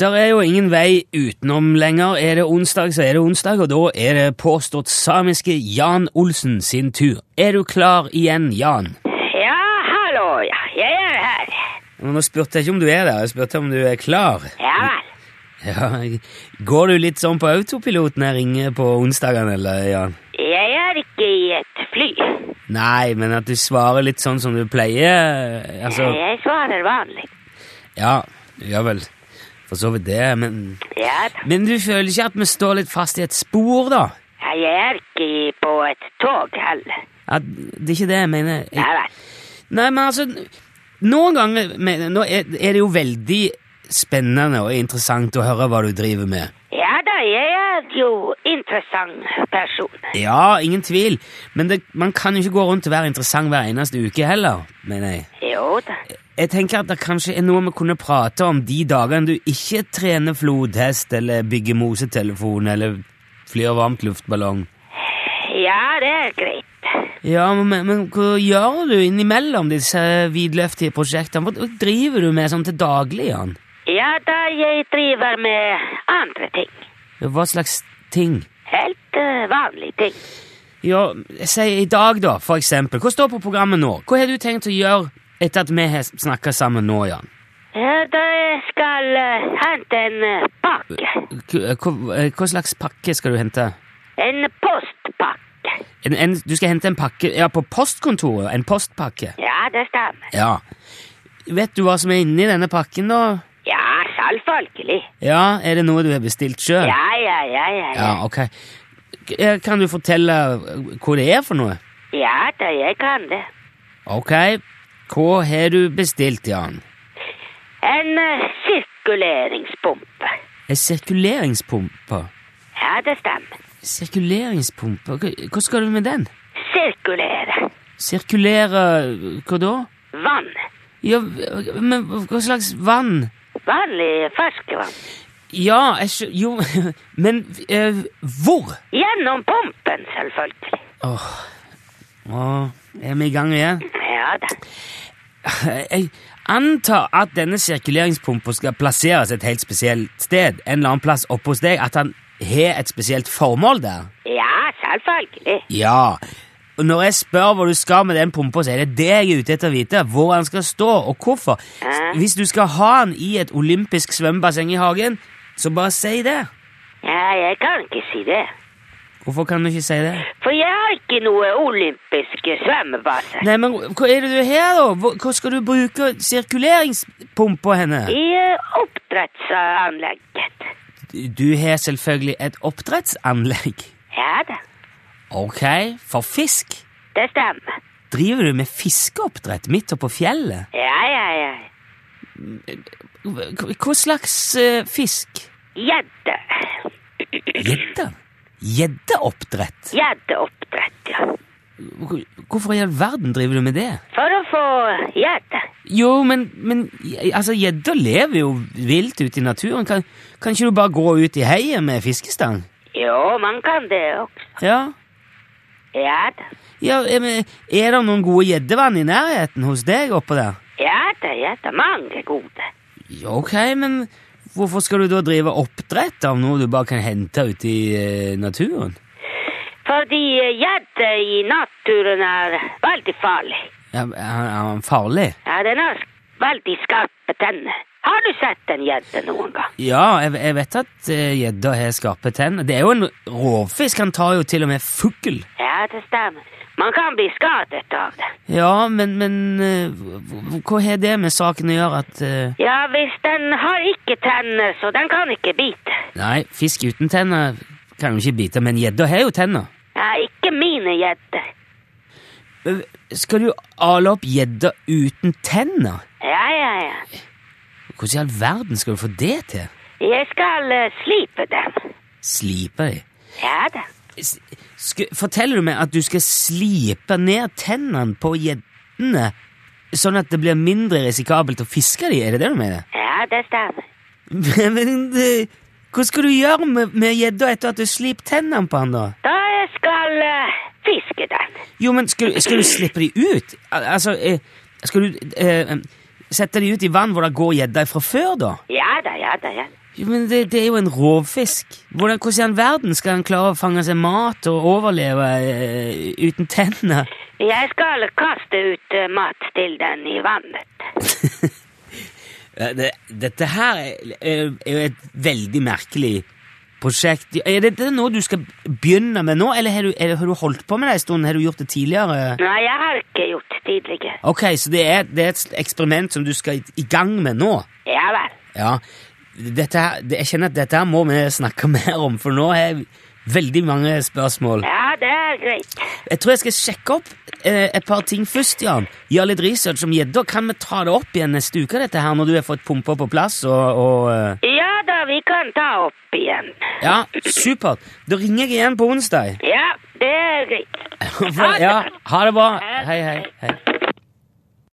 Der er jo ingen vei utenom lenger. Er det onsdag, så er det onsdag, og da er det påstått samiske Jan Olsen sin tur. Er du klar igjen, Jan? Ja, hallo, ja. Jeg er her. Men Nå spurte jeg ikke om du er der, jeg spurte om du er klar. Ja Ja, vel. går du litt sånn på autopilot når jeg ringer på onsdagene, eller, Jan? Jeg er ikke i et fly. Nei, men at du svarer litt sånn som du pleier, altså... Jeg svarer vanlig. Ja, du gjør vel for så vidt det, men Ja da. Men du føler ikke at vi står litt fast i et spor, da? Ja, Jeg er ikke i- på et tog heller. At det er ikke det jeg mener. Ja Jeg, vel. nei, men altså Noen ganger mener, nå er, er det jo veldig spennende og interessant å høre hva du driver med. Ja da, jeg er jo interessant person. Ja, ingen tvil, men det, man kan jo ikke gå rundt og være interessant hver eneste uke heller, mener jeg. Jo da. Jeg tenker at det kanskje er noe vi kunne prate om de dagene du ikke trener flodhest eller bygger mosetelefon eller flyr varmt luftballong. Ja, det er greit. Ja, men, men hva gjør du innimellom disse vidløftige prosjektene? Hva driver du med sånn til daglig, Jan? Ja da, jeg driver med andre ting. Hva slags ting? Helt eh, vanlige ting. Ja, si i dag da, for eksempel. Hva står på programmet nå? Hva har du tenkt å gjøre etter at vi har snakket sammen nå, Jan? Ja, da jeg skal eh, hente en eh, pakke. eh, Hva, hva- hva slags pakke skal du hente? En postpakke. En, en, du skal hente en pakke, ja, på postkontoret, en postpakke. Ja, det stemmer. Ja. Vet du hva som er inni denne pakken da? Ja, selvfølgelig. Ja, er det noe du har bestilt selv? Ja, ja, ja, ja. Ja, Ja, ok. K- eh, Kan du fortelle hva det er for noe? ja da, jeg kan det. Ok, hva har du bestilt, Jan? En eh, sirkuleringspumpe. En sirkuleringspumpe. Ja, det stemmer. Sirkuleringspumpe? Hva- Hva skal du med den? Sirkulere. Sirkulere eh, hva da? Vann. Ja, v- men hva slags vann? Vanlig ferskvann. Ja, jeg skjø... Jo, men eh, hvor? Gjennom pumpen, selvfølgelig. Åh, åh, er vi i gang igjen? Ja da. Jeg antar at denne sirkuleringspumpa skal plasseres et helt spesielt sted. En eller annen plass oppe hos deg. At han har et spesielt formål der. Ja, selvfølgelig. Ja. Og når jeg spør hvor du skal med den pumpa, så er det det jeg er ute etter å vite. Hvor han skal stå, og hvorfor. S- Hvis du skal ha han i et olympisk svømmebasseng i hagen, så bare si det. Ja, jeg kan ikke si det. Hvorfor kan du ikke si det? For jeg har ikke noe olympisk svømmebase. Nei, men hva er det du har, da? Hvor- Hva skal du bruke sirkuleringspumpa henne? I eh, oppdrettsanlegget. Du har selvfølgelig et oppdrettsanlegg. Ja da, Ok, for fisk? det stemmer. Driver du med fiskeoppdrett midt oppå fjellet? Ja, ja, ja. Hva hva slags eh, fisk? Gjedde. Gjedde? Gjeddeoppdrett? Gjeddeoppdrett, ja. Hvor- Hvorfor i all verden driver du med det? For å få gjedde. Jo, men, men je- altså, gjedder lever jo vilt ute i naturen. Kan, kan ikke du bare gå ut i heiet med fiskestang? Jo, man kan det også. Ja, Ja da. ja eh, men Er det noen gode gjeddevann i nærheten hos deg oppå der? Ja da, ja da. Mange gode. Ja, Ok, men hvorfor skal du da drive oppdrett av noe du bare kan hente ute i eh, naturen? Fordi eh, gjedde i naturen er veldig farlig. Ja, Er han er han farlig? Ja, den har sk- veldig skarpe tenner. Har du sett en gjedde noen gang? Ja, jeg, jeg vet at eh, gjedda har skarpe tenner. Det er jo en rovfisk. Han tar jo til og med fugl. Ja, det stemmer. Man kan bli skadet av det. Ja, men, men eh, hva- Hva har det med saken å gjøre at eh, Ja, hvis den har ikke tenner, så den kan ikke bite. Nei, fisk uten tenner kan jo ikke bite, men gjedda har jo tenner. Ja, ikke mine gjedder. Eh, Skal du ale opp gjedda uten tenner? Ja, ja, ja. Hvordan i all verden skal du få det til? Jeg skal eh, slipe dem. Slipe de? Ja da. S- sku- Forteller du meg at du skal slipe ned tennene på gjeddene, sånn at det blir mindre risikabelt å fiske de? Er det det du mener? Ja, det stemmer. Men, men det- hva skal du gjøre med med gjedda etter at du sliper tennene på han da? Da jeg skal eh, fiske den. Jo, men skal, du- skal du slippe de ut? Al- Altså, eh, skal du eh, eh, sette de ut i vann hvor det går gjedder fra før da? Ja da, ja da, ja. da. Jo, men det, det er jo en rovfisk. Hvordan, hvordan i all verden skal han klare å fange seg mat og overleve eh, uten tenner? Jeg skal kaste ut eh, mat til den i vannet. Eh, Det, dette her er- er er jo et veldig merkelig prosjekt. Er dette noe du skal begynne med nå, eller har du, er, det- har du holdt på med det en stund? Har du gjort det tidligere? Nei, jeg har ikke gjort tidligere. Ok, så det er, det er et eksperiment som du skal i- i gang med nå? Ja vel. Ja, dette, her- det- jeg kjenner at dette her må vi snakke mer om, for nå har jeg veldig mange spørsmål. Ja, det er greit. Jeg tror jeg skal sjekke opp eh, et par ting først, Jan. Gjøre litt research om gjedda. Kan vi ta det opp igjen neste uke, dette her, når du har fått pumpa på plass? og... og eh, Ja da, vi kan ta opp igjen. Ja, supert. Da ringer jeg igjen på onsdag. Ja, det er greit. Ja, ha det bra. Hei, hei. hei.